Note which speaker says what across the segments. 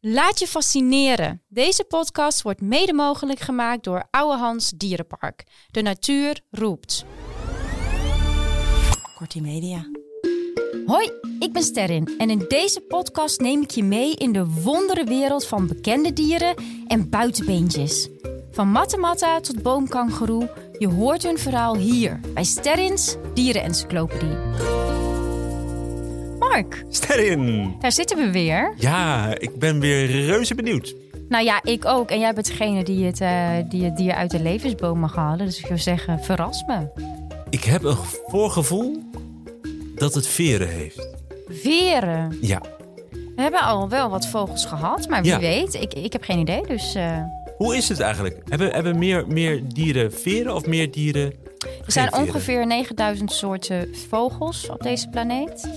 Speaker 1: Laat je fascineren. Deze podcast wordt mede mogelijk gemaakt door Oude Hans Dierenpark. De natuur roept.
Speaker 2: Kortie Media.
Speaker 1: Hoi, ik ben Sterrin en in deze podcast neem ik je mee in de wondere wereld van bekende dieren en buitenbeentjes. Van mattematta tot boomkangeroe, je hoort hun verhaal hier bij Sterrins Dierenencyclopedie. Mark,
Speaker 3: Sterrin!
Speaker 1: daar zitten we weer.
Speaker 3: Ja, ik ben weer reuze benieuwd.
Speaker 1: Nou ja, ik ook. En jij bent degene die het, eh, die het dier uit de levensboom mag halen. Dus ik zou zeggen, verras me.
Speaker 3: Ik heb een voorgevoel dat het veren heeft.
Speaker 1: Veren.
Speaker 3: Ja.
Speaker 1: We hebben al wel wat vogels gehad, maar wie
Speaker 3: Ja.
Speaker 1: weet. Ik, ik heb geen idee, dus... eh,
Speaker 3: Hoe is het eigenlijk? Hebben, hebben meer, meer dieren veren of meer dieren
Speaker 1: Er zijn ongeveer 9000 soorten vogels op deze planeet.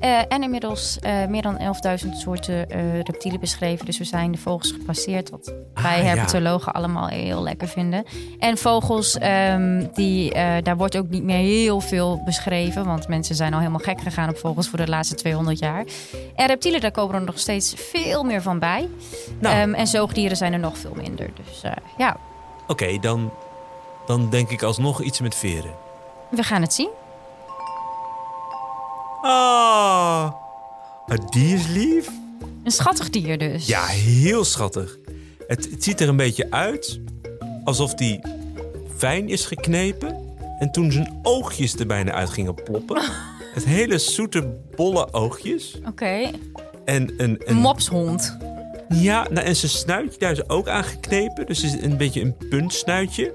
Speaker 1: Eh, en inmiddels eh, meer dan 11.000 soorten eh, reptielen beschreven. Dus we zijn de vogels gepasseerd, wat
Speaker 3: Ah,
Speaker 1: wij herpetologen allemaal heel lekker vinden. En vogels, ehm, die, eh, daar wordt ook niet meer heel veel beschreven. Want mensen zijn al helemaal gek gegaan op vogels voor de laatste 200 jaar. En reptielen, daar komen er nog steeds veel meer van bij.
Speaker 3: Nou,
Speaker 1: Ehm, en zoogdieren zijn er nog veel minder. Dus eh, ja,
Speaker 3: oké, dan, dan denk ik alsnog iets met veren.
Speaker 1: we gaan het zien.
Speaker 3: Ah, maar die is lief.
Speaker 1: Een schattig dier dus.
Speaker 3: Ja, heel schattig. Het, het ziet er een beetje uit alsof die fijn is geknepen en toen zijn oogjes er bijna uit gingen ploppen. Het hele zoete, bolle oogjes.
Speaker 1: Oké,
Speaker 3: En een,
Speaker 1: een
Speaker 3: een,
Speaker 1: mopshond.
Speaker 3: Ja, nou, en zijn snuitje, daar is ook aan geknepen. Dus het is een beetje een puntsnuitje.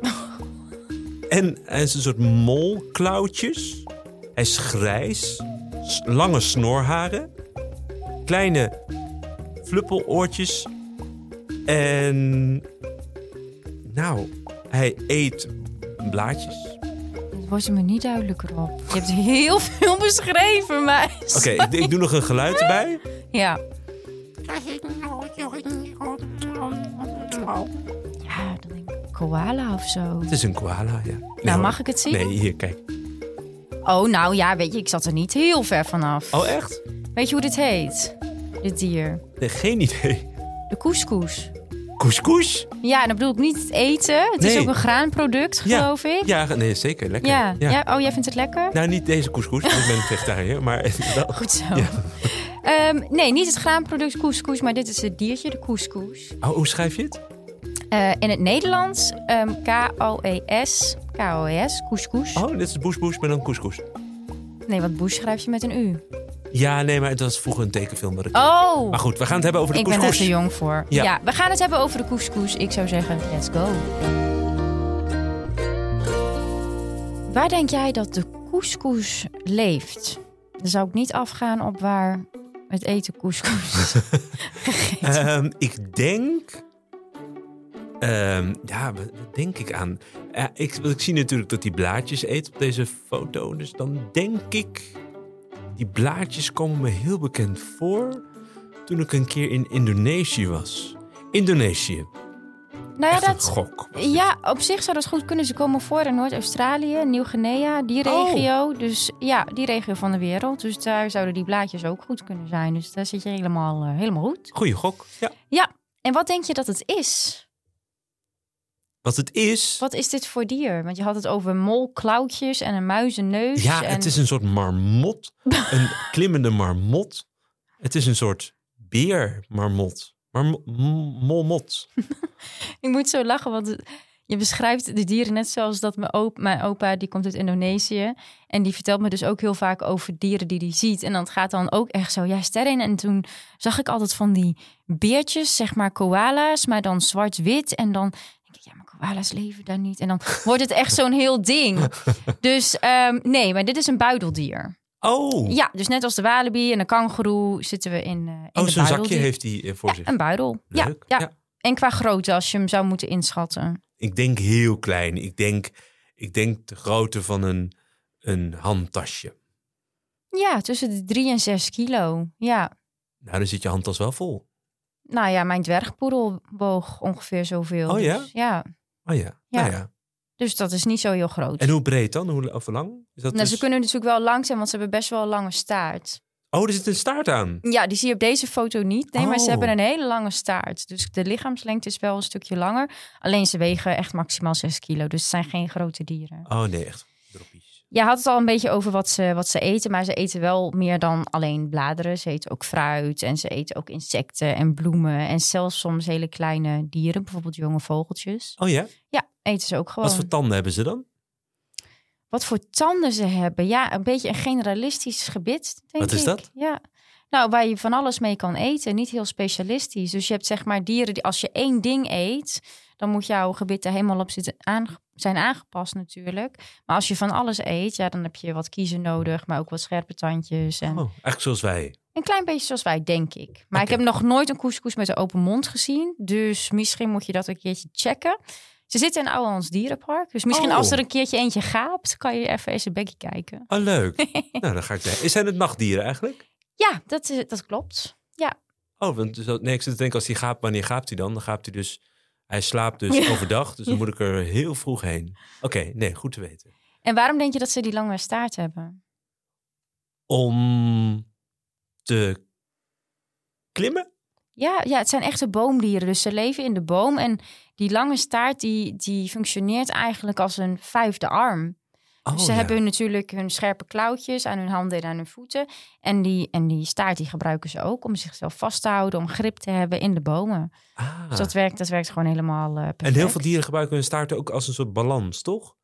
Speaker 3: en, en zijn soort molklauwtjes. Hij is grijs. s- Lange snorharen. Kleine fluppeloortjes. En... Nou, hij eet blaadjes.
Speaker 1: Het wordt me niet duidelijker op. Je hebt heel veel beschreven, meis.
Speaker 3: Oké, ik, ik doe nog een geluid erbij.
Speaker 1: Ja. Ja, dan denk ik koala of zo.
Speaker 3: Het is een koala, ja. Nee,
Speaker 1: Nou,
Speaker 3: hoor.
Speaker 1: mag ik het zien?
Speaker 3: Nee, hier, kijk.
Speaker 1: Oh, nou ja, weet je, ik zat er niet heel ver vanaf.
Speaker 3: Oh, echt?
Speaker 1: Weet je hoe dit heet? Dit dier.
Speaker 3: Nee, geen idee.
Speaker 1: De couscous.
Speaker 3: Couscous?
Speaker 1: Ja, en dan bedoel ik niet het eten. Het is
Speaker 3: Nee.
Speaker 1: ook een graanproduct,
Speaker 3: Ja.
Speaker 1: geloof ik.
Speaker 3: Ja, nee, zeker. Lekker.
Speaker 1: Ja. ja. Oh, jij vindt het lekker?
Speaker 3: Nou, niet deze couscous, want ik ben vegetariër, maar wel.
Speaker 1: Goed zo. Ehm, nee, niet het graanproduct couscous, maar dit is het diertje, de couscous.
Speaker 3: Oh, hoe schrijf je het?
Speaker 1: Eh, in het Nederlands ehm, E K-O-E-S. K-O-E-S, E couscous.
Speaker 3: Oh, dit is boesboes, maar dan couscous.
Speaker 1: Nee, want Bush schrijf je met een U.
Speaker 3: Ja, nee, maar het was vroeger een tekenfilm. Dat ik...
Speaker 1: Oh,
Speaker 3: Maar goed, we gaan het hebben over de
Speaker 1: ik ben daar
Speaker 3: couscous.
Speaker 1: te jong voor. Ja.
Speaker 3: Ja.
Speaker 1: we gaan het hebben over de couscous. Ik zou zeggen, let's go. Waar denk jij dat de couscous leeft? Dan zou ik niet afgaan op waar het eten couscous gegeten wordt.
Speaker 3: Ehm, ik denk... Ehm, ja, wat wat denk ik aan? Eh, ik, want ik zie natuurlijk dat die blaadjes eet op deze foto. Dus dan denk ik... Die blaadjes komen me heel bekend voor... toen ik een keer in Indonesië was. Indonesië.
Speaker 1: Nou ja,
Speaker 3: Echt een
Speaker 1: dat,
Speaker 3: gok.
Speaker 1: Ja, op zich zou dat goed kunnen. Ze komen voor in Noord-Australië, Nieuw-Guinea, die
Speaker 3: Oh.
Speaker 1: regio. Dus ja, die regio van de wereld. Dus daar zouden die blaadjes ook goed kunnen zijn. Dus daar zit je helemaal, eh, helemaal goed.
Speaker 3: Goeie gok. Ja.
Speaker 1: En wat denk je dat het is?
Speaker 3: Wat het is.
Speaker 1: Wat is dit voor dier? Want je had het over molklauwtjes en een muizenneus.
Speaker 3: ja,
Speaker 1: en...
Speaker 3: het is een soort marmot. een klimmende marmot. Het is een soort beermarmot. Marmo- m- molmot.
Speaker 1: Ik moet zo lachen, want het- je beschrijft de dieren net zoals dat mijn opa, mijn opa, die komt uit Indonesië. En die vertelt me dus ook heel vaak over dieren die hij ziet. En dat gaat dan ook echt zo, ja, sterren. En toen zag ik altijd van die beertjes, zeg maar koala's, maar dan zwart-wit. En dan denk ik, ja, maar koala's leven daar niet. En dan wordt het echt zo'n heel ding. Dus ehm, nee, maar dit is een buideldier.
Speaker 3: Oh,
Speaker 1: Ja, dus net als de walibi en de kangoeroe zitten we in, eh in de
Speaker 3: oh zo'n zakje
Speaker 1: buideldier.
Speaker 3: heeft hij eh, voor
Speaker 1: Ja,
Speaker 3: zich.
Speaker 1: een buidel. Ja,
Speaker 3: Leuk.
Speaker 1: ja. En qua grootte, als je hem zou moeten inschatten.
Speaker 3: Ik denk heel klein. Ik denk, ik denk de grootte van een, een handtasje.
Speaker 1: Ja, tussen de 3 en 6 kilo. Ja.
Speaker 3: Nou, dan zit je handtas wel vol.
Speaker 1: Nou ja, mijn dwergpoedel woog ongeveer zoveel.
Speaker 3: Oh ja?
Speaker 1: Dus, ja.
Speaker 3: Oh ja.
Speaker 1: Ja.
Speaker 3: Nou ja.
Speaker 1: Dus dat is niet zo heel groot.
Speaker 3: En hoe breed dan? Hoe of lang? Is dat
Speaker 1: nou,
Speaker 3: dus-
Speaker 1: Ze kunnen natuurlijk wel lang zijn, want ze hebben best wel een lange staart.
Speaker 3: Oh, er zit een staart aan.
Speaker 1: Ja, die zie je op deze foto niet. Nee, maar ze
Speaker 3: Oh.
Speaker 1: hebben een hele lange staart. Dus de lichaamslengte is wel een stukje langer. Alleen ze wegen echt maximaal 6 kilo. Dus het zijn geen grote dieren.
Speaker 3: Oh nee, echt. Droppies.
Speaker 1: Je had het al een beetje over wat ze, wat ze eten. Maar ze eten wel meer dan alleen bladeren. Ze eten ook fruit. En ze eten ook insecten en bloemen. En zelfs soms hele kleine dieren. Bijvoorbeeld jonge vogeltjes.
Speaker 3: Oh ja?
Speaker 1: Ja, eten ze ook gewoon.
Speaker 3: Wat voor tanden hebben ze dan?
Speaker 1: wat voor tanden ze hebben. Ja, een beetje een generalistisch gebit, denk
Speaker 3: Wat is
Speaker 1: ik.
Speaker 3: dat?
Speaker 1: Ja. Nou, waar je van alles mee kan eten. Niet heel specialistisch. Dus je hebt zeg maar dieren die als je één ding eet... dan moet jouw gebit er helemaal op zitten aange- zijn aangepast natuurlijk. Maar als je van alles eet, ja, dan heb je wat kiezen nodig... maar ook wat scherpe tandjes. En
Speaker 3: Oh, eigenlijk zoals wij.
Speaker 1: Een klein beetje zoals wij, denk ik. Maar ik
Speaker 3: Oké.
Speaker 1: heb nog nooit een couscous met een open mond gezien. Dus misschien moet je dat een keertje checken. Ze zitten in Ouwehands Dierenpark. Dus misschien
Speaker 3: Oh.
Speaker 1: als er een keertje eentje gaapt, kan je even eens een bekje kijken.
Speaker 3: Oh, leuk. nou, dan ga ik daar. Zijn het nachtdieren eigenlijk?
Speaker 1: Ja, dat, is, dat klopt.
Speaker 3: Oh, want dus, nee, ik zit te denken, als hij gaapt, wanneer gaapt hij dan? Dan gaapt hij dus... Hij slaapt dus
Speaker 1: Ja.
Speaker 3: overdag, dus dan
Speaker 1: Ja.
Speaker 3: moet ik er heel vroeg heen. Oké, nee, goed te weten.
Speaker 1: En waarom denk je dat ze die lange staart hebben?
Speaker 3: Om te klimmen?
Speaker 1: Ja, ja, het zijn echte boomdieren. Dus ze leven in de boom. En die lange staart die, die functioneert eigenlijk als een vijfde arm.
Speaker 3: Oh,
Speaker 1: Dus ze
Speaker 3: ja.
Speaker 1: hebben natuurlijk hun scherpe klauwtjes aan hun handen en aan hun voeten. En die, en die staart die gebruiken ze ook om zichzelf vast te houden, om grip te hebben in de bomen.
Speaker 3: Ah.
Speaker 1: Dus dat werkt, dat werkt gewoon helemaal eh, perfect.
Speaker 3: En heel veel dieren gebruiken hun staart ook als een soort balans, toch?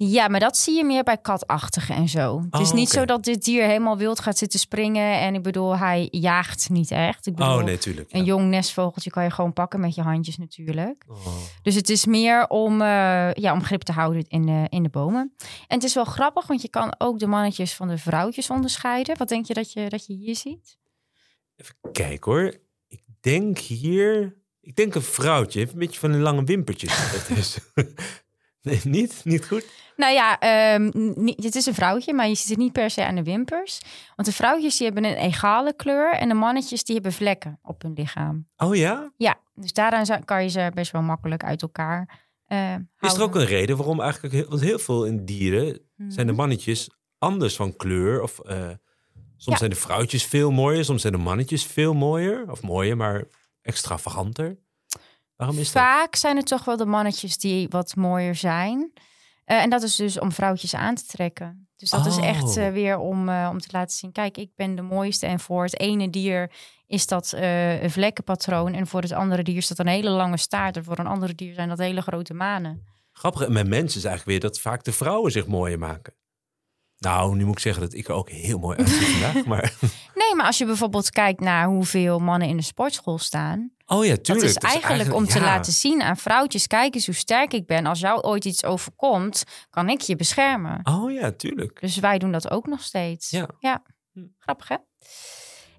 Speaker 1: Ja, maar dat zie je meer bij katachtigen en zo. Het is
Speaker 3: Oh,
Speaker 1: niet
Speaker 3: oké.
Speaker 1: zo dat dit dier helemaal wild gaat zitten springen. En ik bedoel, hij jaagt niet echt. Ik bedoel,
Speaker 3: Oh, nee, tuurlijk.
Speaker 1: een
Speaker 3: ja.
Speaker 1: jong nestvogeltje kan je gewoon pakken met je handjes natuurlijk.
Speaker 3: Oh.
Speaker 1: Dus het is meer om, eh, ja, om grip te houden in de, in de bomen. En het is wel grappig, want je kan ook de mannetjes van de vrouwtjes onderscheiden. Wat denk je dat je, dat je hier ziet?
Speaker 3: Kijk hoor, ik denk hier... Ik denk een vrouwtje, heeft een beetje van die lange wimpertjes. dat is... Nee, niet? Niet goed?
Speaker 1: Nou ja, ehm, ni- het is een vrouwtje, maar je ziet het niet per se aan de wimpers. Want de vrouwtjes die hebben een egale kleur en de mannetjes die hebben vlekken op hun lichaam.
Speaker 3: Oh ja?
Speaker 1: Ja, dus daaraan zou- kan je ze best wel makkelijk uit elkaar eh
Speaker 3: Is er ook een reden waarom eigenlijk... heel- Want heel veel in dieren
Speaker 1: Hmm.
Speaker 3: zijn de mannetjes anders van kleur. Of, eh, soms
Speaker 1: Ja.
Speaker 3: zijn de vrouwtjes veel mooier, soms zijn de mannetjes veel mooier. Of mooier, maar extravaganter. Waarom is dat?
Speaker 1: Vaak zijn het toch wel de mannetjes die wat mooier zijn. Eh, en dat is dus om vrouwtjes aan te trekken. Dus dat is echt
Speaker 3: Oh.
Speaker 1: eh, weer om, eh, om te laten zien: kijk, ik ben de mooiste. En voor het ene dier is dat eh, een vlekkenpatroon. En voor het andere dier is dat een hele lange staart. En voor een andere dier zijn dat hele grote manen.
Speaker 3: Grappig, en mijn mensen is eigenlijk weer dat vaak de vrouwen zich mooier maken. Nou, nu moet ik zeggen dat ik er ook heel mooi uitzie vandaag, maar...
Speaker 1: Nee, maar als je bijvoorbeeld kijkt naar hoeveel mannen in de sportschool staan.
Speaker 3: Oh ja, tuurlijk.
Speaker 1: Dat is
Speaker 3: Dat
Speaker 1: eigenlijk om te
Speaker 3: ja.
Speaker 1: laten zien aan vrouwtjes: kijk eens hoe sterk ik ben. Als jou ooit iets overkomt, kan ik je beschermen.
Speaker 3: Oh ja, tuurlijk.
Speaker 1: Dus wij doen dat ook nog steeds.
Speaker 3: Ja. Hm.
Speaker 1: Grappig, hè?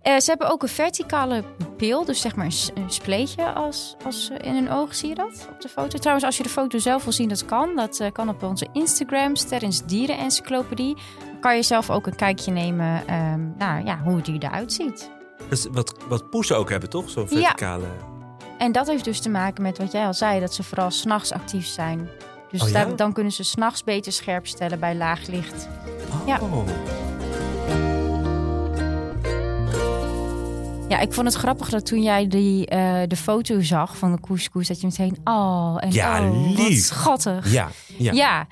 Speaker 1: Eh, ze hebben ook een verticale pupil, dus zeg maar een, s- een spleetje als, als eh, in hun oog. Zie je dat op de foto? Trouwens, als je de foto zelf wil zien, dat kan. Dat eh, kan op onze Instagram, Sterrens Dieren Encyclopedie. Dan kan je zelf ook een kijkje nemen ehm, naar ja, hoe die eruit ziet.
Speaker 3: Dat is wat, wat poezen ook hebben, toch? Zo'n
Speaker 1: Ja.
Speaker 3: verticale...
Speaker 1: En dat heeft dus te maken met wat jij al zei, dat ze vooral s'nachts actief zijn. Dus
Speaker 3: Oh ja?
Speaker 1: daar- dan kunnen ze s'nachts beter scherp stellen bij laag licht.
Speaker 3: Oh.
Speaker 1: Ja. Ja, ik vond het grappig dat toen jij die, eh, de foto zag van de couscous, dat je meteen, oh, en
Speaker 3: Ja,
Speaker 1: oh, wat
Speaker 3: lief.
Speaker 1: schattig.
Speaker 3: Ja, ja.
Speaker 1: Ja.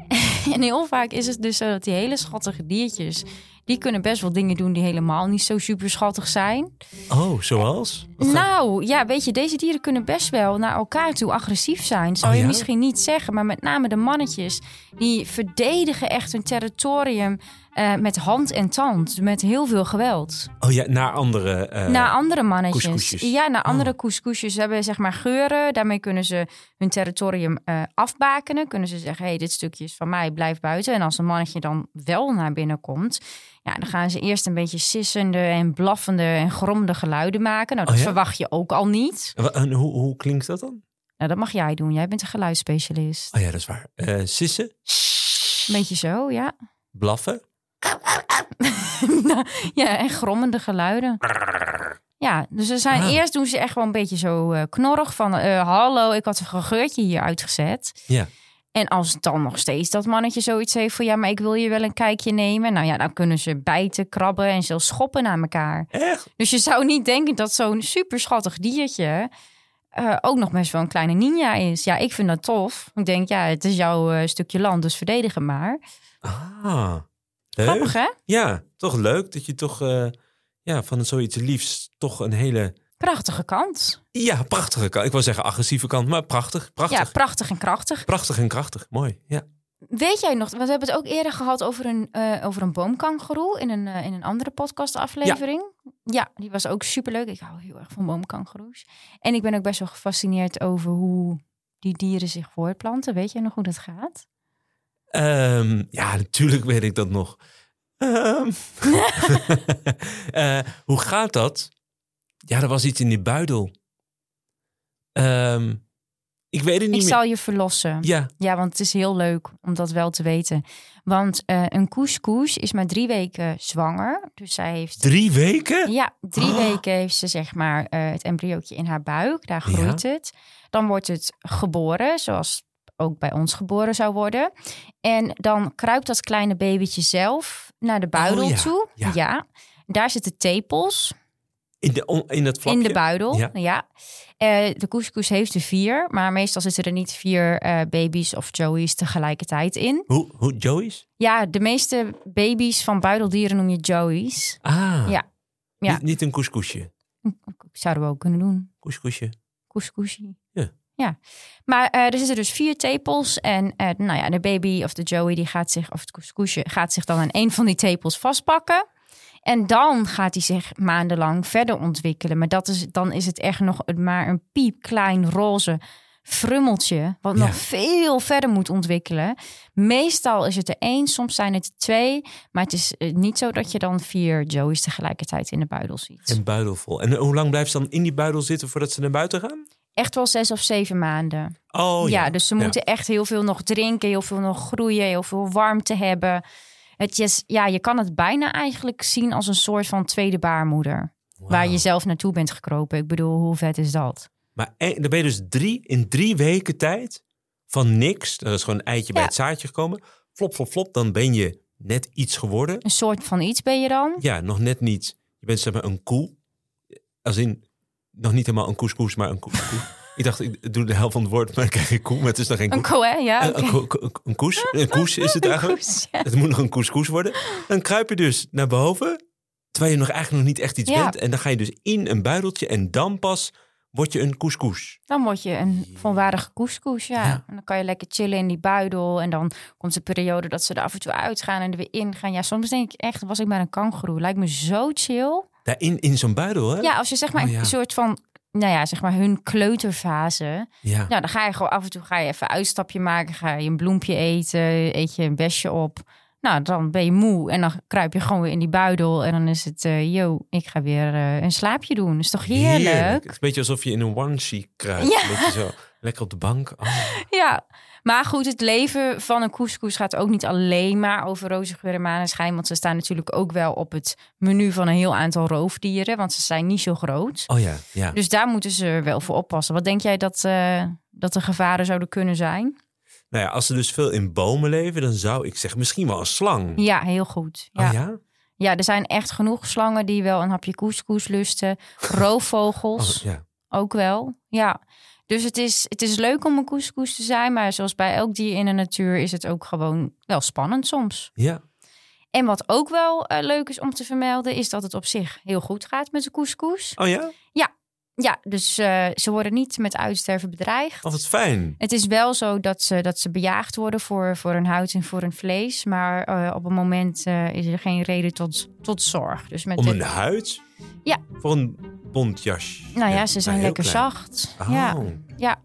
Speaker 1: en heel vaak is het dus zo dat die hele schattige diertjes, die kunnen best wel dingen doen die helemaal niet zo super schattig zijn.
Speaker 3: Oh, zoals? Wat ga-
Speaker 1: Nou, ja, weet je, deze dieren kunnen best wel naar elkaar toe agressief zijn. Zou
Speaker 3: Oh,
Speaker 1: je
Speaker 3: ja?
Speaker 1: misschien niet zeggen, maar met name de mannetjes, die verdedigen echt hun territorium eh, met hand en tand, met heel veel geweld.
Speaker 3: Oh ja, naar andere... eh,
Speaker 1: Naar andere mannetjes.
Speaker 3: couscousjes. Ah.
Speaker 1: Ja, naar andere couscousjes. Ze hebben zeg maar geuren. Daarmee kunnen ze hun territorium eh, afbakenen. Kunnen ze zeggen, hé, hey, dit stukje is van mij, blijf buiten. En als een mannetje dan wel naar binnen komt... Ja, dan gaan ze eerst een beetje sissende en blaffende en grommende geluiden maken. Nou, dat
Speaker 3: Oh ja?
Speaker 1: verwacht je ook al niet.
Speaker 3: en wa- En hoe, hoe klinkt dat dan?
Speaker 1: Nou, dat mag jij doen. Jij bent een geluidsspecialist.
Speaker 3: Oh ja, dat is waar. Eh, sissen,
Speaker 1: Een beetje zo, ja.
Speaker 3: blaffen.
Speaker 1: ja, en grommende geluiden. Ja, dus ze zijn,
Speaker 3: Ah.
Speaker 1: eerst doen ze echt wel een beetje zo eh, knorrig van... eh, hallo, ik had een geurtje hier uitgezet.
Speaker 3: Ja.
Speaker 1: En als dan nog steeds dat mannetje zoiets heeft van ja, maar ik wil je wel een kijkje nemen. Nou ja, dan kunnen ze bijten, krabben en zelfs schoppen naar elkaar.
Speaker 3: Echt?
Speaker 1: Dus je zou niet denken dat zo'n superschattig diertje eh, ook nog best wel een kleine ninja is. Ja, ik vind dat tof. Ik denk, ja, het is jouw eh, stukje land, dus verdedig hem maar.
Speaker 3: Ah. Leuk.
Speaker 1: Grappig, hè?
Speaker 3: Ja, toch leuk dat je toch eh, ja, van zoiets liefs toch een hele...
Speaker 1: Prachtige kant.
Speaker 3: Ja, prachtige kant. Ik wil zeggen agressieve kant, maar prachtig. Prachtig,
Speaker 1: Ja, prachtig en krachtig.
Speaker 3: prachtig en krachtig. Mooi, ja.
Speaker 1: Weet jij nog, want we hebben het ook eerder gehad over een, eh over een boomkangeroe in een, eh, in een andere podcastaflevering. Ja. die was ook superleuk. Ik hou heel erg van boomkangeroes. En ik ben ook best wel gefascineerd over hoe die dieren zich voortplanten. Weet jij nog hoe dat gaat?
Speaker 3: Ehm, ja, natuurlijk weet ik dat nog. Ehm. Eh, hoe gaat dat? Ja, er was iets in die buidel. Ehm, ik weet het niet
Speaker 1: Ik
Speaker 3: meer.
Speaker 1: zal je verlossen.
Speaker 3: Ja,
Speaker 1: Ja, want het is heel leuk om dat wel te weten. Want eh, een couscous is maar drie weken zwanger. Dus zij heeft.
Speaker 3: drie weken?
Speaker 1: Ja, drie
Speaker 3: Oh.
Speaker 1: weken heeft ze zeg maar eh, het embryootje in haar buik. Daar groeit het. Dan wordt het geboren, zoals ook bij ons geboren zou worden. En dan kruipt dat kleine babytje zelf naar de buidel
Speaker 3: Oh, ja.
Speaker 1: toe.
Speaker 3: Ja.
Speaker 1: Daar zitten tepels.
Speaker 3: In, de, on- in dat vlakje?
Speaker 1: In de buidel,
Speaker 3: Ja.
Speaker 1: ja. Eh, de couscous heeft er vier, maar meestal zitten er niet vier eh, baby's of joeys tegelijkertijd in.
Speaker 3: Hoe, hoe, Joey's?
Speaker 1: Ja, de meeste baby's van buideldieren noem je joeys.
Speaker 3: Ah,
Speaker 1: Ja. Ja.
Speaker 3: Niet, niet een couscousje.
Speaker 1: Zouden we ook kunnen doen.
Speaker 3: Couscousje.
Speaker 1: Couscousie.
Speaker 3: Ja.
Speaker 1: ja. Maar eh, er zitten dus vier tepels en eh, nou ja, de baby of de joey die gaat zich, of het couscousje, gaat zich dan aan een van die tepels vastpakken. En dan gaat hij zich maandenlang verder ontwikkelen. Maar dat is, dan is het echt nog een- maar een piepklein roze frummeltje. Wat
Speaker 3: Ja.
Speaker 1: nog veel verder moet ontwikkelen. Meestal is het er één, soms zijn het er twee. Maar het is eh, niet zo dat je dan vier Joey's tegelijkertijd in de buidel ziet.
Speaker 3: En buidel vol. En hoe lang blijft ze dan in die buidel zitten voordat ze naar buiten gaan?
Speaker 1: Echt wel zes of zeven maanden.
Speaker 3: Oh ja.
Speaker 1: ja, dus ze
Speaker 3: Ja.
Speaker 1: moeten echt heel veel nog drinken, heel veel nog groeien, heel veel warmte hebben. Het is, ja, je kan het bijna eigenlijk zien als een soort van tweede baarmoeder. waar
Speaker 3: Wauw.
Speaker 1: je zelf naartoe bent gekropen. Ik bedoel, hoe vet is dat?
Speaker 3: Maar e- dan ben je dus drie, in drie weken tijd van niks. Er is gewoon een eitje bij
Speaker 1: Ja.
Speaker 3: het zaadje gekomen. Flop, flop, flop. Dan ben je net iets geworden.
Speaker 1: Een soort van iets ben je dan?
Speaker 3: Ja, nog net niet. Je bent zeg maar een koe. Als in, nog niet helemaal een couscous, maar een koe. koe. ik dacht, ik doe de helft van het woord, maar dan krijg ik koe. Maar het is nog geen koe.
Speaker 1: Een koe, hè? Ja,
Speaker 3: Een-
Speaker 1: oké.
Speaker 3: Een, ko- ko- een, koes. Een koes is het eigenlijk.
Speaker 1: Koes, ja.
Speaker 3: Het moet nog een couscous worden. Dan kruip je dus naar boven, terwijl je nog eigenlijk nog niet echt iets
Speaker 1: Ja.
Speaker 3: bent. En dan ga je dus in een buideltje en dan pas word je een couscous.
Speaker 1: Dan word je een volwaardige couscous, ja.
Speaker 3: Ja.
Speaker 1: En dan kan je lekker chillen in die buidel. En dan komt de periode dat ze er af en toe uitgaan en er weer in gaan. Ja, soms denk ik echt, was ik maar een kangoeroe. Lijkt me zo chill.
Speaker 3: Daarin in zo'n buidel, hè?
Speaker 1: Ja, als je zeg maar
Speaker 3: Oh, ja.
Speaker 1: een soort van, nou ja, zeg maar hun kleuterfase.
Speaker 3: Ja.
Speaker 1: Nou, dan ga je gewoon af en toe ga je even een uitstapje maken. Ga je een bloempje eten, eet je een besje op. Nou, dan ben je moe en dan kruip je gewoon weer in die buidel. En dan is het, eh, yo, ik ga weer eh, een slaapje doen. Is toch heerlijk?
Speaker 3: Het is een beetje alsof je in een onesie kruipt.
Speaker 1: Ja.
Speaker 3: Beetje zo lekker op de bank. Oh.
Speaker 1: Ja, maar goed, het leven van een couscous gaat ook niet alleen maar over roze geur en maneschijn. Want ze staan natuurlijk ook wel op het menu van een heel aantal roofdieren. Want ze zijn niet zo groot.
Speaker 3: Oh ja, ja.
Speaker 1: Dus daar moeten ze wel voor oppassen. Wat denk jij dat, eh, dat de gevaren zouden kunnen zijn?
Speaker 3: Nou ja, als ze dus veel in bomen leven, dan zou ik zeggen misschien wel een slang.
Speaker 1: Ja, heel goed. Ja.
Speaker 3: Oh ja?
Speaker 1: Ja, er zijn echt genoeg slangen die wel een hapje couscous lusten.
Speaker 3: Oh,
Speaker 1: Roofvogels
Speaker 3: ja.
Speaker 1: ook wel. Ja. Dus het is, het is leuk om een couscous te zijn. Maar zoals bij elk dier in de natuur is het ook gewoon wel spannend soms.
Speaker 3: ja.
Speaker 1: En wat ook wel eh, leuk is om te vermelden, is dat het op zich heel goed gaat met de couscous.
Speaker 3: Oh ja?
Speaker 1: Ja, dus eh, ze worden niet met uitsterven bedreigd.
Speaker 3: Oh, wat fijn.
Speaker 1: Het is wel zo dat ze, dat ze bejaagd worden voor, voor hun huid en voor hun vlees. Maar eh, op een moment eh, is er geen reden tot, tot zorg. Dus met
Speaker 3: Om
Speaker 1: de-
Speaker 3: een huid?
Speaker 1: Ja.
Speaker 3: Voor een bont jasje.
Speaker 1: Nou ja, ze zijn
Speaker 3: heel
Speaker 1: lekker
Speaker 3: klein.
Speaker 1: zacht.
Speaker 3: Oh.
Speaker 1: Ja. Ja.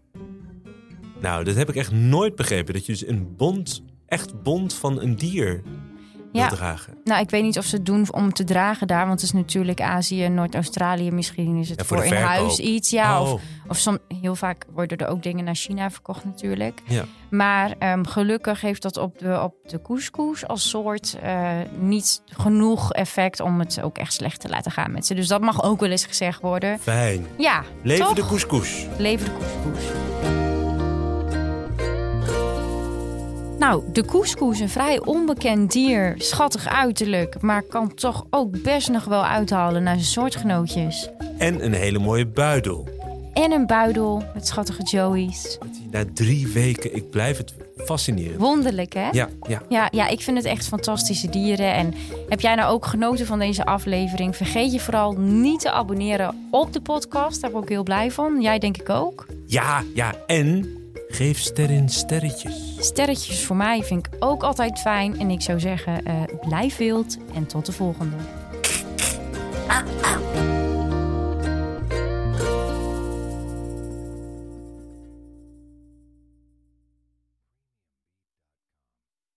Speaker 3: Nou, dat heb ik echt nooit begrepen. Dat je dus een bont, echt bont van een dier
Speaker 1: Ja.
Speaker 3: wil dragen.
Speaker 1: Nou, ik weet niet of ze het doen om te dragen daar. Want het is natuurlijk Azië, Noord-Australië. Misschien is het
Speaker 3: Ja, voor
Speaker 1: voor,
Speaker 3: de
Speaker 1: in
Speaker 3: verkoop.
Speaker 1: huis iets. Ja,
Speaker 3: oh,
Speaker 1: Of, of som, heel vaak worden er ook dingen naar China verkocht natuurlijk.
Speaker 3: Ja.
Speaker 1: Maar ehm, gelukkig heeft dat op de, op de couscous als soort eh, niet genoeg effect... om het ook echt slecht te laten gaan met ze. Dus dat mag ook wel eens gezegd worden.
Speaker 3: fijn.
Speaker 1: Ja,
Speaker 3: Leven
Speaker 1: toch?
Speaker 3: de couscous.
Speaker 1: Leven de couscous. Nou, de couscous, een vrij onbekend dier, schattig uiterlijk, maar kan toch ook best nog wel uithalen naar zijn soortgenootjes.
Speaker 3: En een hele mooie buidel.
Speaker 1: En een buidel met schattige joeys.
Speaker 3: Na drie weken, ik blijf het fascinerend.
Speaker 1: Wonderlijk, hè?
Speaker 3: Ja, ja.
Speaker 1: Ja, ja, ik vind het echt fantastische dieren. En heb jij nou ook genoten van deze aflevering? Vergeet je vooral niet te abonneren op de podcast. Daar ben ik heel blij van. Jij denk ik ook.
Speaker 3: Ja, ja. En geef sterren sterretjes.
Speaker 1: Sterretjes voor mij vind ik ook altijd fijn. En ik zou zeggen, eh, blijf wild en tot de volgende.